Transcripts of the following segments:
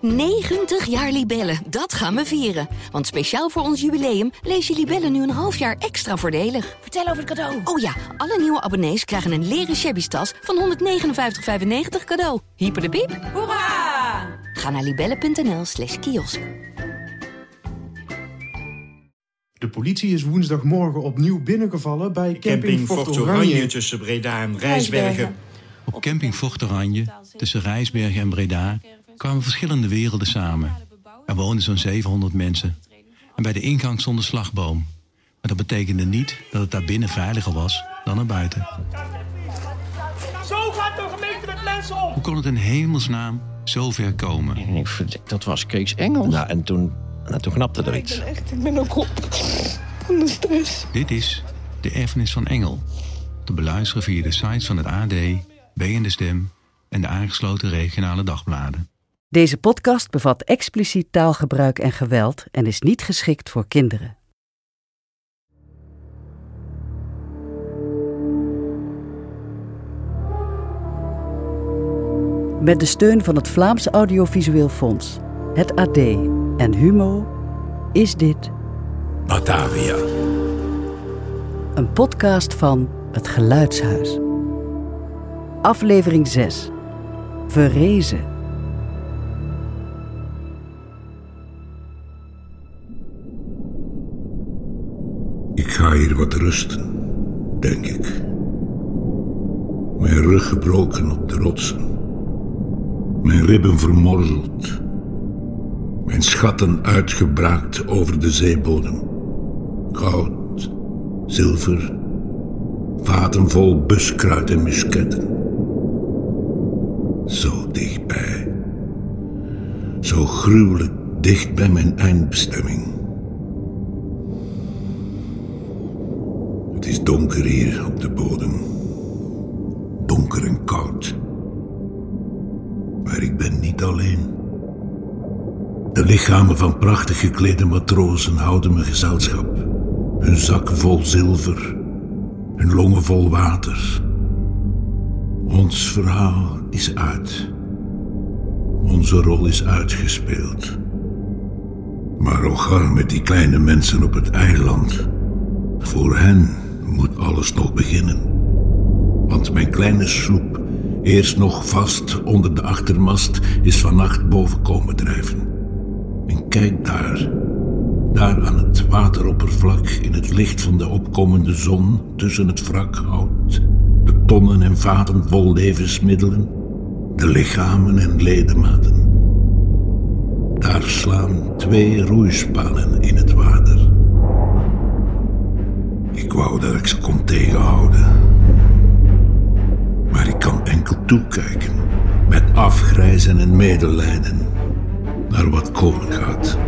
90 jaar Libellen, dat gaan we vieren. Want speciaal voor ons jubileum lees je Libellen nu een half jaar extra voordelig. Vertel over het cadeau. Oh ja, alle nieuwe abonnees krijgen een leren shabby tas van 159,95 cadeau. Hyper de piep. Hoera! Ga naar libellen.nl slash kiosk. De politie is woensdagmorgen opnieuw binnengevallen bij camping, Camping Fort Fort Oranje. Oranje tussen Breda en Rijsbergen. Op camping Fort Oranje, tussen Rijsbergen en Breda, kwamen verschillende werelden samen. Er woonden zo'n 700 mensen. En bij de ingang stond een slagboom. Maar dat betekende niet dat het daar binnen veiliger was dan er buiten. Zo gaat de gemeente met mensen om. Hoe kon het in hemelsnaam zo ver komen? En ik vond, dat was Kees Engels. Nou, en toen, nou, toen knapte er iets. Dit is De Erfenis van Engel. Te beluisteren via de sites van het AD, BN De Stem en de aangesloten regionale dagbladen. Deze podcast bevat expliciet taalgebruik en geweld en is niet geschikt voor kinderen. Met de steun van het Vlaams Audiovisueel Fonds, het AD en Humo is dit Batavia. een podcast van Het Geluidshuis. Aflevering 6. Verrezen. Ik ga hier wat rusten, denk ik. Mijn rug gebroken op de rotsen. Mijn ribben vermorzeld. Mijn schatten uitgebraakt over de zeebodem. Goud, zilver, vaten vol buskruid en musketten. Zo dichtbij. Zo gruwelijk dicht bij mijn eindbestemming. Het is donker hier op de bodem. Donker en koud. Maar ik ben niet alleen. De lichamen van prachtig geklede matrozen houden me gezelschap. Hun zak vol zilver, hun longen vol water. Ons verhaal is uit. Onze rol is uitgespeeld. Maar Ogar met die kleine mensen op het eiland. Voor hen moet alles nog beginnen. Want mijn kleine sloep, eerst nog vast onder de achtermast, is vannacht boven komen drijven. En kijk daar, daar aan het wateroppervlak, in het licht van de opkomende zon, tussen het wrak hout, de tonnen en vaten vol levensmiddelen, de lichamen en ledematen. Daar slaan twee roeispanen in het water. Ik wou dat ik ze kon tegenhouden. Maar ik kan enkel toekijken, met afgrijzen en medelijden, naar wat komen gaat.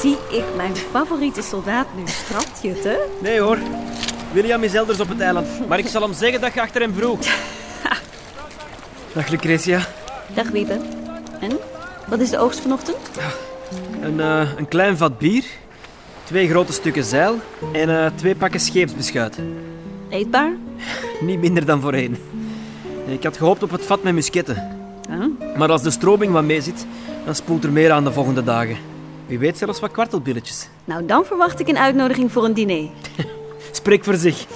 Zie ik mijn favoriete soldaat nu strandjutten? Nee hoor. William is elders op het eiland. Maar ik zal hem zeggen dat je achter hem vroeg. Dag Lucretia. Dag Wiebe. En? Wat is de oogst vanochtend? Een, eh, een klein vat bier. Twee grote stukken zeil. En eh, twee pakken scheepsbeschuit. Eetbaar? Niet minder dan voorheen. Ik had gehoopt op het vat met musketten. Huh? Maar als de strobing wat mee zit, dan spoelt er meer aan de volgende dagen. Wie weet zelfs wat kwartelbilletjes. Nou, dan verwacht ik een uitnodiging voor een diner. Spreek voor zich.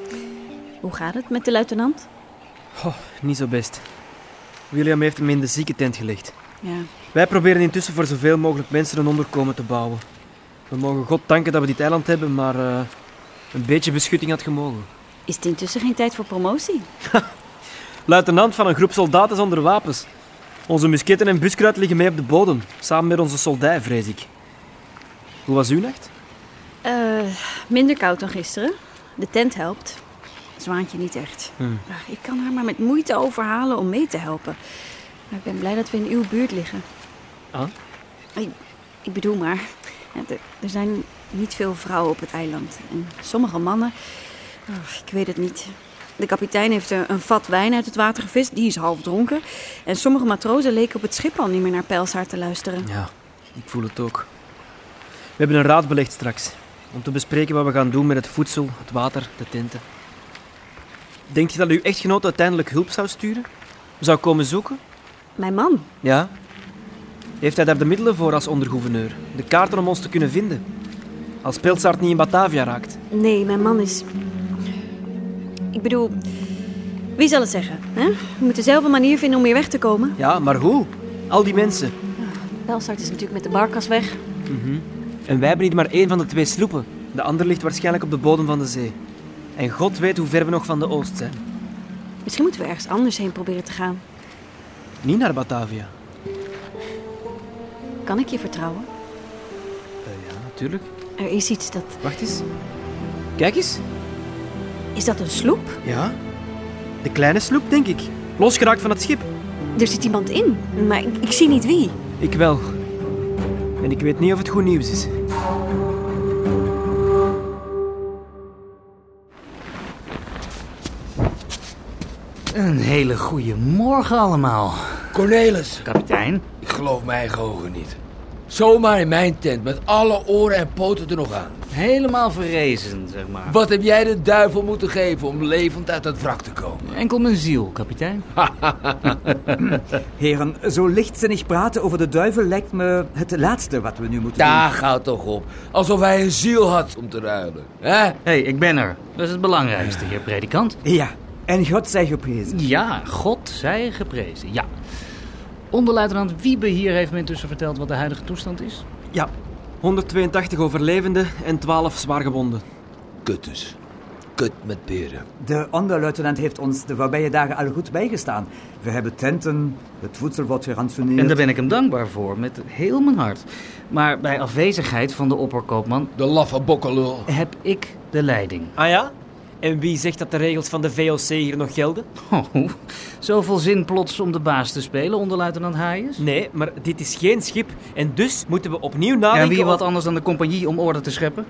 Hoe gaat het met de luitenant? Oh, niet zo best. William heeft hem in de ziekentent gelegd. Ja. Wij proberen intussen voor zoveel mogelijk mensen een onderkomen te bouwen. We mogen God danken dat we dit eiland hebben, maar eh, een beetje beschutting had gemogen. Is het intussen geen tijd voor promotie? Luitenant van een groep soldaten zonder wapens. Onze musketten en buskruid liggen mee op de bodem, samen met onze soldij, vrees ik. Hoe was uw nacht? Eh, minder koud dan gisteren. De tent helpt. Zwaantje niet echt. Hmm. Ah, Ik kan haar maar met moeite overhalen om mee te helpen. Maar ik ben blij dat we in uw buurt liggen. Ah? Ik, ik bedoel maar, ja, er- er zijn niet veel vrouwen op het eiland. En sommige mannen, oh, ik weet het niet. De kapitein heeft eh, een vat wijn uit het water gevist, die is half dronken. En sommige matrozen leken op het schip al niet meer naar Pijlshaar te luisteren. Ja, ik voel het ook. We hebben een raad belegd straks. Om te bespreken wat we gaan doen met het voedsel, het water, de tenten. Denk je dat uw echtgenoot uiteindelijk hulp zou sturen? Zou komen zoeken? Mijn man, Ja. Heeft hij daar de middelen voor als ondergouverneur? De kaarten om ons te kunnen vinden? Als Peltsaart niet in Batavia raakt. Nee, mijn man is. Ik bedoel, wie zal het zeggen? Hè? We moeten zelf een manier vinden om hier weg te komen. Ja, maar hoe? Al die mensen. Belstart is natuurlijk met de barkas weg. En wij hebben hier maar één van de twee sloepen. De ander ligt waarschijnlijk op de bodem van de zee. En God weet hoe ver we nog van de oost zijn. Misschien moeten we ergens anders heen proberen te gaan. Niet naar Batavia. Kan ik je vertrouwen? Eh, ja, natuurlijk. Er is iets dat. Wacht eens. Kijk eens. Is dat een sloep? Ja. De kleine sloep, denk ik. Losgeraakt van het schip. Er zit iemand in, maar ik, ik zie niet wie. Ik wel. En ik weet niet of het goed nieuws is. Een hele goede morgen allemaal. Cornelis. Kapitein? Ik geloof mijn eigen ogen niet. Zomaar in mijn tent, met alle oren en poten er nog aan. Helemaal verrezen, zeg maar. Wat heb jij de duivel moeten geven om levend uit dat wrak te komen? Enkel mijn ziel, kapitein. Heren, zo lichtzinnig praten over de duivel lijkt me het laatste wat we nu moeten Daar gaat toch op. Alsof hij een ziel had om te ruilen. Hè? hey, ik ben er. Dat is het belangrijkste, heer predikant. doen. Ja, en God zij geprezen. Ja, God zij geprezen, ja. Onderluitenant Wiebe hier heeft me intussen verteld wat de huidige toestand is. Ja. 182 overlevenden en 12 zwaargewonden. Kut dus. Kut met peren. De onderluitenant heeft ons de voorbije dagen al goed bijgestaan. We hebben tenten, het voedsel wordt gerantsoeneerd. En daar ben ik hem dankbaar voor, met heel mijn hart. Maar bij afwezigheid van de opperkoopman... De laffe bokkelul. ...heb ik de leiding. Ah ja? En wie zegt dat de regels van de VOC hier nog gelden? Oh, zoveel zin plots om de baas te spelen, onderluitenant Haaiers? Nee, maar dit is geen schip en dus moeten we opnieuw nadenken... En wie wat of- anders dan de compagnie om orde te scheppen?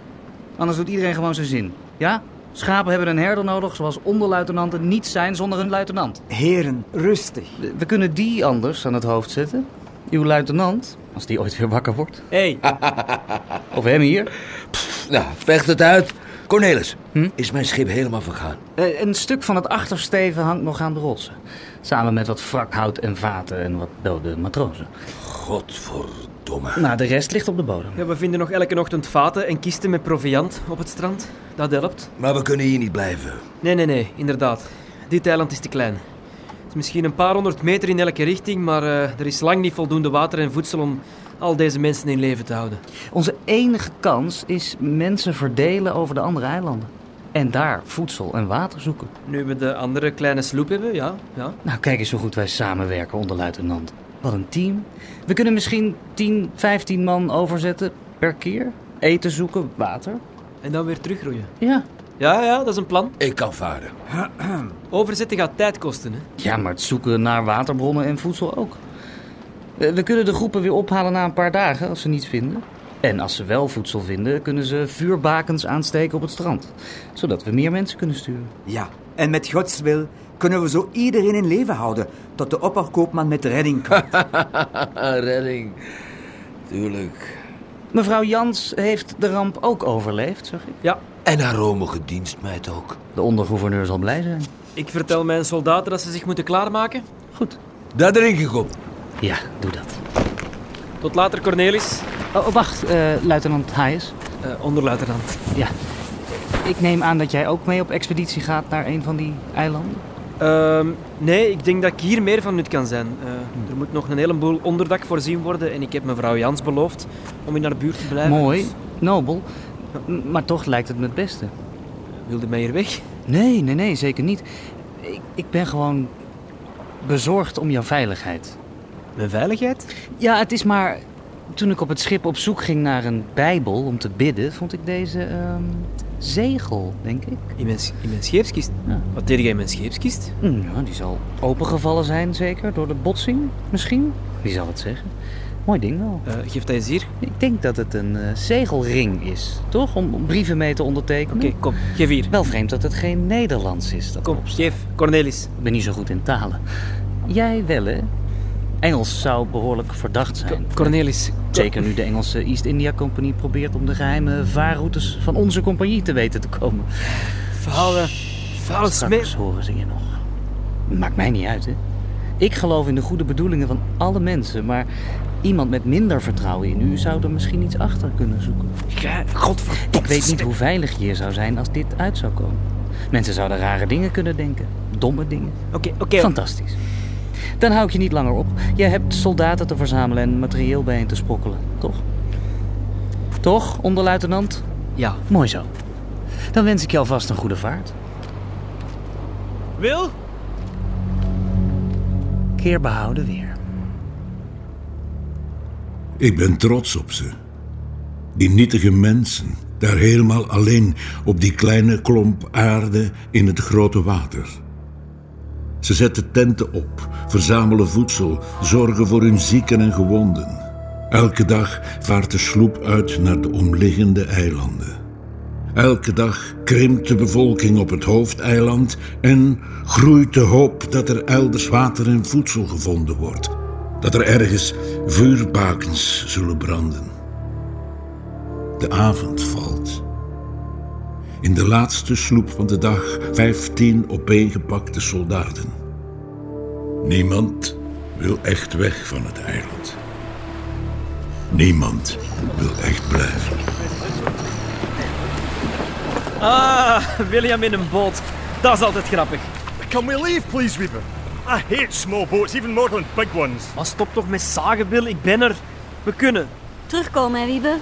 Anders doet iedereen gewoon zijn zin. Ja? Schapen hebben een herder nodig, zoals onderluitenanten niet zijn zonder hun luitenant. Heren, rustig. We, we kunnen die anders aan het hoofd zetten. Uw luitenant, als die ooit weer wakker wordt. Hey. Of hem hier. Hm? Nou, vecht het uit. Cornelis, is mijn schip helemaal vergaan? Eh, een stuk van het achtersteven hangt nog aan de rotsen. Samen met wat wrakhout en vaten en wat dode matrozen. Godverdomme. Nou, de rest ligt op de bodem. Ja, we vinden nog elke ochtend vaten en kisten met proviant op het strand. Dat helpt. Maar we kunnen hier niet blijven. Nee, nee, nee, inderdaad. Dit eiland is te klein. Het is misschien een paar honderd meter in elke richting, maar eh, er is lang niet voldoende water en voedsel om al deze mensen in leven te houden. Onze enige kans is mensen verdelen over de andere eilanden. En daar voedsel en water zoeken. Nu we de andere kleine sloep hebben, ja, ja. Nou, kijk eens hoe goed wij samenwerken onder luitenant. Wat een team. We kunnen misschien 10, 15 man overzetten per keer. Eten zoeken, water. En dan weer terugroeien. Ja. Ja, ja, dat is een plan. Ik kan varen. Overzetten gaat tijd kosten, hè. Ja, maar het zoeken naar waterbronnen en voedsel ook. Eh, We kunnen de groepen weer ophalen na een paar dagen als ze niets vinden. En als ze wel voedsel vinden, kunnen ze vuurbakens aansteken op het strand. Zodat we meer mensen kunnen sturen. Ja, en met Gods wil kunnen we zo iedereen in leven houden. Tot de opperkoopman met redding komt. Redding. Tuurlijk. Mevrouw Jans heeft de ramp ook overleefd, zeg ik. Ja, En haar romige dienstmeid ook. De ondergouverneur zal blij zijn. ik vertel mijn soldaten dat ze zich moeten klaarmaken. Goed. Daar drink ik op. Ja, doe dat. Tot later, Cornelis. Oh, oh, wacht, eh, luitenant Hayes. Eh onderluitenant. Ja. Ik neem aan dat jij ook mee op expeditie gaat naar een van die eilanden. Ehm, nee, ik denk dat ik hier meer van nut kan zijn. Eh, Hmm. Er moet nog een heleboel onderdak voorzien worden en ik heb mevrouw Jans beloofd om in haar buurt te blijven. Dus Mooi, nobel, m- maar toch lijkt het me het beste. Wilde mij hier weg? Nee, nee, nee, zeker niet. Ik, ik ben gewoon bezorgd om jouw veiligheid. Mijn veiligheid? Ja, het is maar. Toen ik op het schip op zoek ging naar een Bijbel om te bidden, vond ik deze ehm, zegel, denk ik. In mijn, in mijn scheepskist? Ja. Wat deed jij in mijn scheepskist? Hm, Ja, die zal opengevallen zijn, zeker door de botsing, misschien. Wie zal het zeggen? Mooi ding wel. geeft hij Eh, eens hier? Ik denk dat het een eh, zegelring is, toch? Om, om brieven mee te ondertekenen. Oké, kom, geef hier. Wel vreemd dat het geen Nederlands is. Dat Kom, erop staat. geef. Cornelis. Ik ben niet zo goed in talen. Jij wel, hè? Engels zou behoorlijk verdacht zijn. Cornelis. Zeker nu de Engelse East India Compagnie probeert om de geheime vaarroutes van onze compagnie te weten te komen. Verhalen. Verhalen Straks smeer. horen ze je nog. Maakt mij niet uit, hè? Ik geloof in de goede bedoelingen van alle mensen, maar iemand met minder vertrouwen in u zou er misschien iets achter kunnen zoeken. Ja, godverdomme. Ik weet niet hoe veilig je hier zou zijn als dit uit zou komen. Mensen zouden rare dingen kunnen denken, domme dingen. Oké, oké. Fantastisch. Dan hou ik je niet langer op. Jij hebt soldaten te verzamelen en materieel bijeen te sprokkelen, toch? Toch, onderluitenant? Ja. Mooi zo. Dan wens ik je alvast een goede vaart. Wil? Keer behouden weer. Ik ben trots op ze. Die nietige mensen, daar helemaal alleen op die kleine klomp aarde in het grote water. Ze zetten tenten op, verzamelen voedsel, zorgen voor hun zieken en gewonden. Elke dag vaart de sloep uit naar de omliggende eilanden. Elke dag krimpt de bevolking op het hoofdeiland en groeit de hoop dat er elders water en voedsel gevonden wordt. Dat er ergens vuurbakens zullen branden. De avond valt. In de laatste sloep van de dag vijftien opeengepakte soldaten. Niemand wil echt weg van het eiland. Niemand wil echt blijven. Ah, William in een boot. Dat is altijd grappig. Can we leave, please, Reaper? I hate small boats, even more than big ones. Maar stop toch met zagen, Bill. Ik ben er. We kunnen. Terugkomen, hè, Wiebe?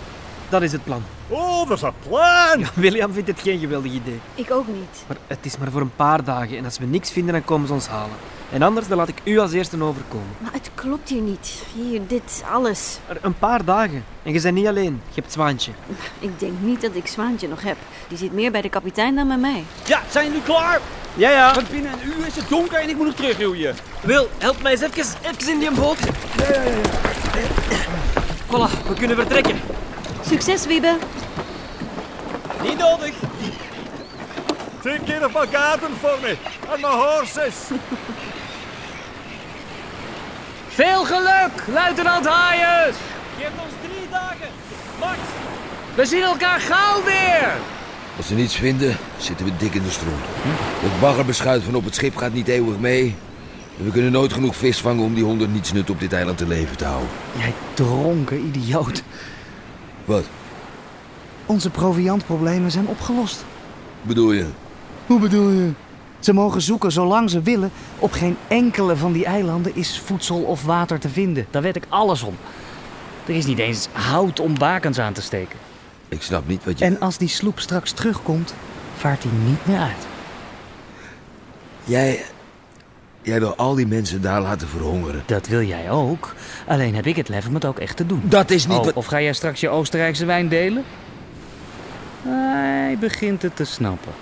Dat is het plan. Oh, there's a plan! William vindt het geen geweldig idee. Ik ook niet. Maar het is maar voor een paar dagen. En als we niks vinden, dan komen ze ons halen. En anders, dan laat ik u als eerste overkomen. Maar het klopt hier niet. Hier, dit, alles. Maar een paar dagen. En je bent niet alleen. Je hebt Zwaantje. Ik denk niet dat ik Zwaantje nog heb. Die zit meer bij de kapitein dan bij mij. Ja, zijn jullie klaar? Ja, ja. Want binnen een uur is het donker en ik moet nog terugroeien. Wil, help mij eens even, even in die boot. Voilà, we kunnen vertrekken. Succes, Wiebe. Niet nodig. Take care of my garden for me and my horses. Veel geluk, luitenant Hayes. Je hebt ons drie dagen. Max, We zien elkaar gauw weer. Als ze niets vinden, zitten we dik in de stront. Het baggerbeschuit van op het schip gaat niet eeuwig mee. En we kunnen nooit genoeg vis vangen om die honderd nietsnut op dit eiland te leven te houden. Jij dronken idioot. Wat Onze proviantproblemen zijn opgelost. bedoel je? Hoe bedoel je? Ze mogen zoeken zolang ze willen. Op geen enkele van die eilanden is voedsel of water te vinden. Daar weet ik alles om. Er is niet eens hout om bakens aan te steken. Ik snap niet wat je... En als die sloep straks terugkomt, vaart hij niet meer uit. Jij... Jij wil al die mensen daar laten verhongeren. Dat wil jij ook. Alleen heb ik het lef om het ook echt te doen. Dat is niet Oh, wat- Of ga jij straks je Oostenrijkse wijn delen? Hij begint het te snappen.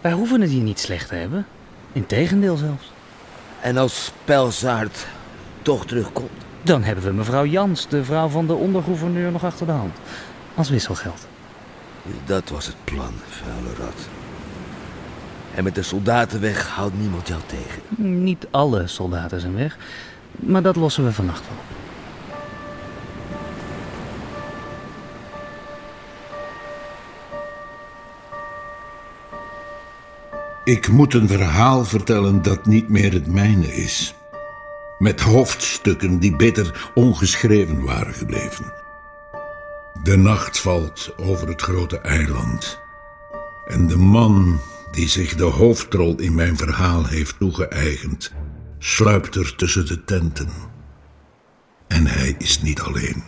Wij hoeven het hier niet slecht te hebben. Integendeel zelfs. En als Pelsaard toch terugkomt? Dan hebben we mevrouw Jans, de vrouw van de ondergouverneur, nog achter de hand. Als wisselgeld. Dat was het plan, vuile rat. En met de soldaten weg houdt niemand jou tegen. Niet alle soldaten zijn weg, maar dat lossen we vannacht wel. op. Ik moet een verhaal vertellen dat niet meer het mijne is. Met hoofdstukken die beter ongeschreven waren gebleven. De nacht valt over het grote eiland. En de man die zich de hoofdrol in mijn verhaal heeft toegeëigend, sluipt er tussen de tenten. En hij is niet alleen.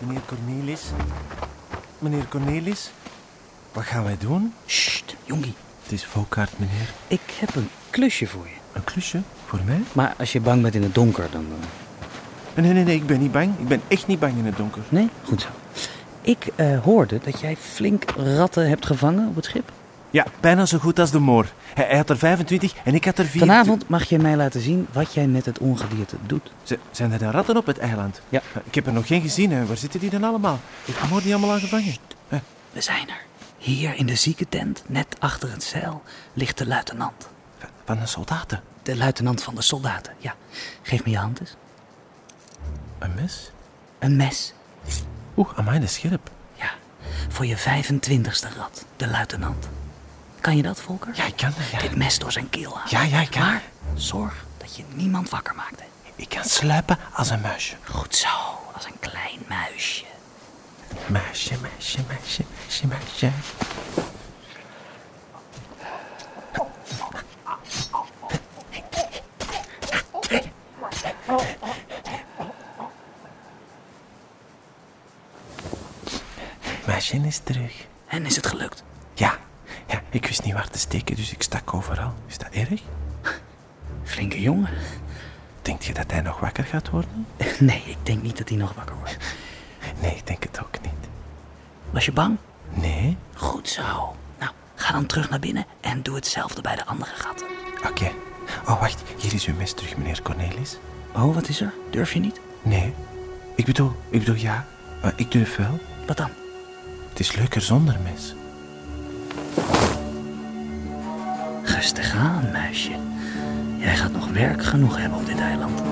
Meneer Cornelis? Meneer Cornelis? Wat gaan wij doen? Sst, jongie. Het is Valkaart, meneer. Ik heb een klusje voor je. Een klusje? Voor mij? Maar als je bang bent in het donker, dan... eh, Nee, nee, nee, ik ben niet bang. Ik ben echt niet bang in het donker. Nee? Goed zo. Ik eh, hoorde dat jij flink ratten hebt gevangen op het schip. Ja, bijna zo goed als de moor. Hij, hij had er 25 en ik had er 4. Vanavond mag jij mij laten zien wat jij met het ongedierte doet. Z- zijn er dan ratten op het eiland? Ja. Ik heb er nog geen gezien. Hè. Waar zitten die dan allemaal? Ik heb die allemaal aan gevangen. Hè. We zijn er. Hier in de ziekentent, net achter het zeil, ligt de luitenant. Van de soldaten. De luitenant van de soldaten, ja. Geef me je hand eens. Een mes? Een mes. Oeh, amai, dat is scherp. Ja, voor je 25ste rat, de luitenant. Kan je dat, Volker? Ja, ik kan dat, ja. Dit mes door zijn keel halen. Ja, ja, ik kan. Maar zorg dat je niemand wakker maakt. Hè. Ik kan sluipen als een muisje. Goed zo, als een klein muisje. Muisje, muisje, muisje, muisje, muisje. Muisje is terug. En is het gelukt? Ja. ja, ik wist niet waar te steken, dus ik stak overal. Is dat erg? Flinke jongen. Denkt je dat hij nog wakker gaat worden? Nee, ik denk niet dat hij nog wakker wordt. Nee, ik denk het ook niet. Was je bang? Nee? Goed zo. Nou, ga dan terug naar binnen en doe hetzelfde bij de andere gaten. Oké. Oh, wacht. Hier is uw mes terug, meneer Cornelis. Oh, wat is er? Durf je niet? Nee. Ik bedoel, ik bedoel ja. Maar ik durf wel. Wat dan? Het is leuker zonder mes. Rustig aan, muisje. Jij gaat nog werk genoeg hebben op dit eiland.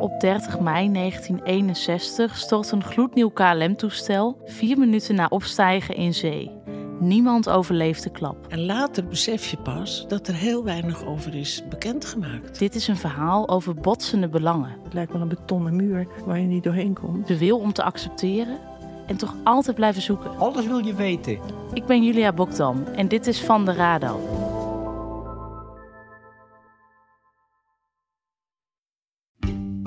Op 30 mei 1961 stort een gloednieuw KLM-toestel vier minuten na opstijgen in zee. Niemand overleeft de klap. En later besef je pas dat er heel weinig over is bekendgemaakt. Dit is een verhaal over botsende belangen. Het lijkt wel een betonnen muur waar je niet doorheen komt. De wil om te accepteren en toch altijd blijven zoeken. Alles wil je weten. Ik ben Julia Bokdam en dit is Van de Rado. Hm.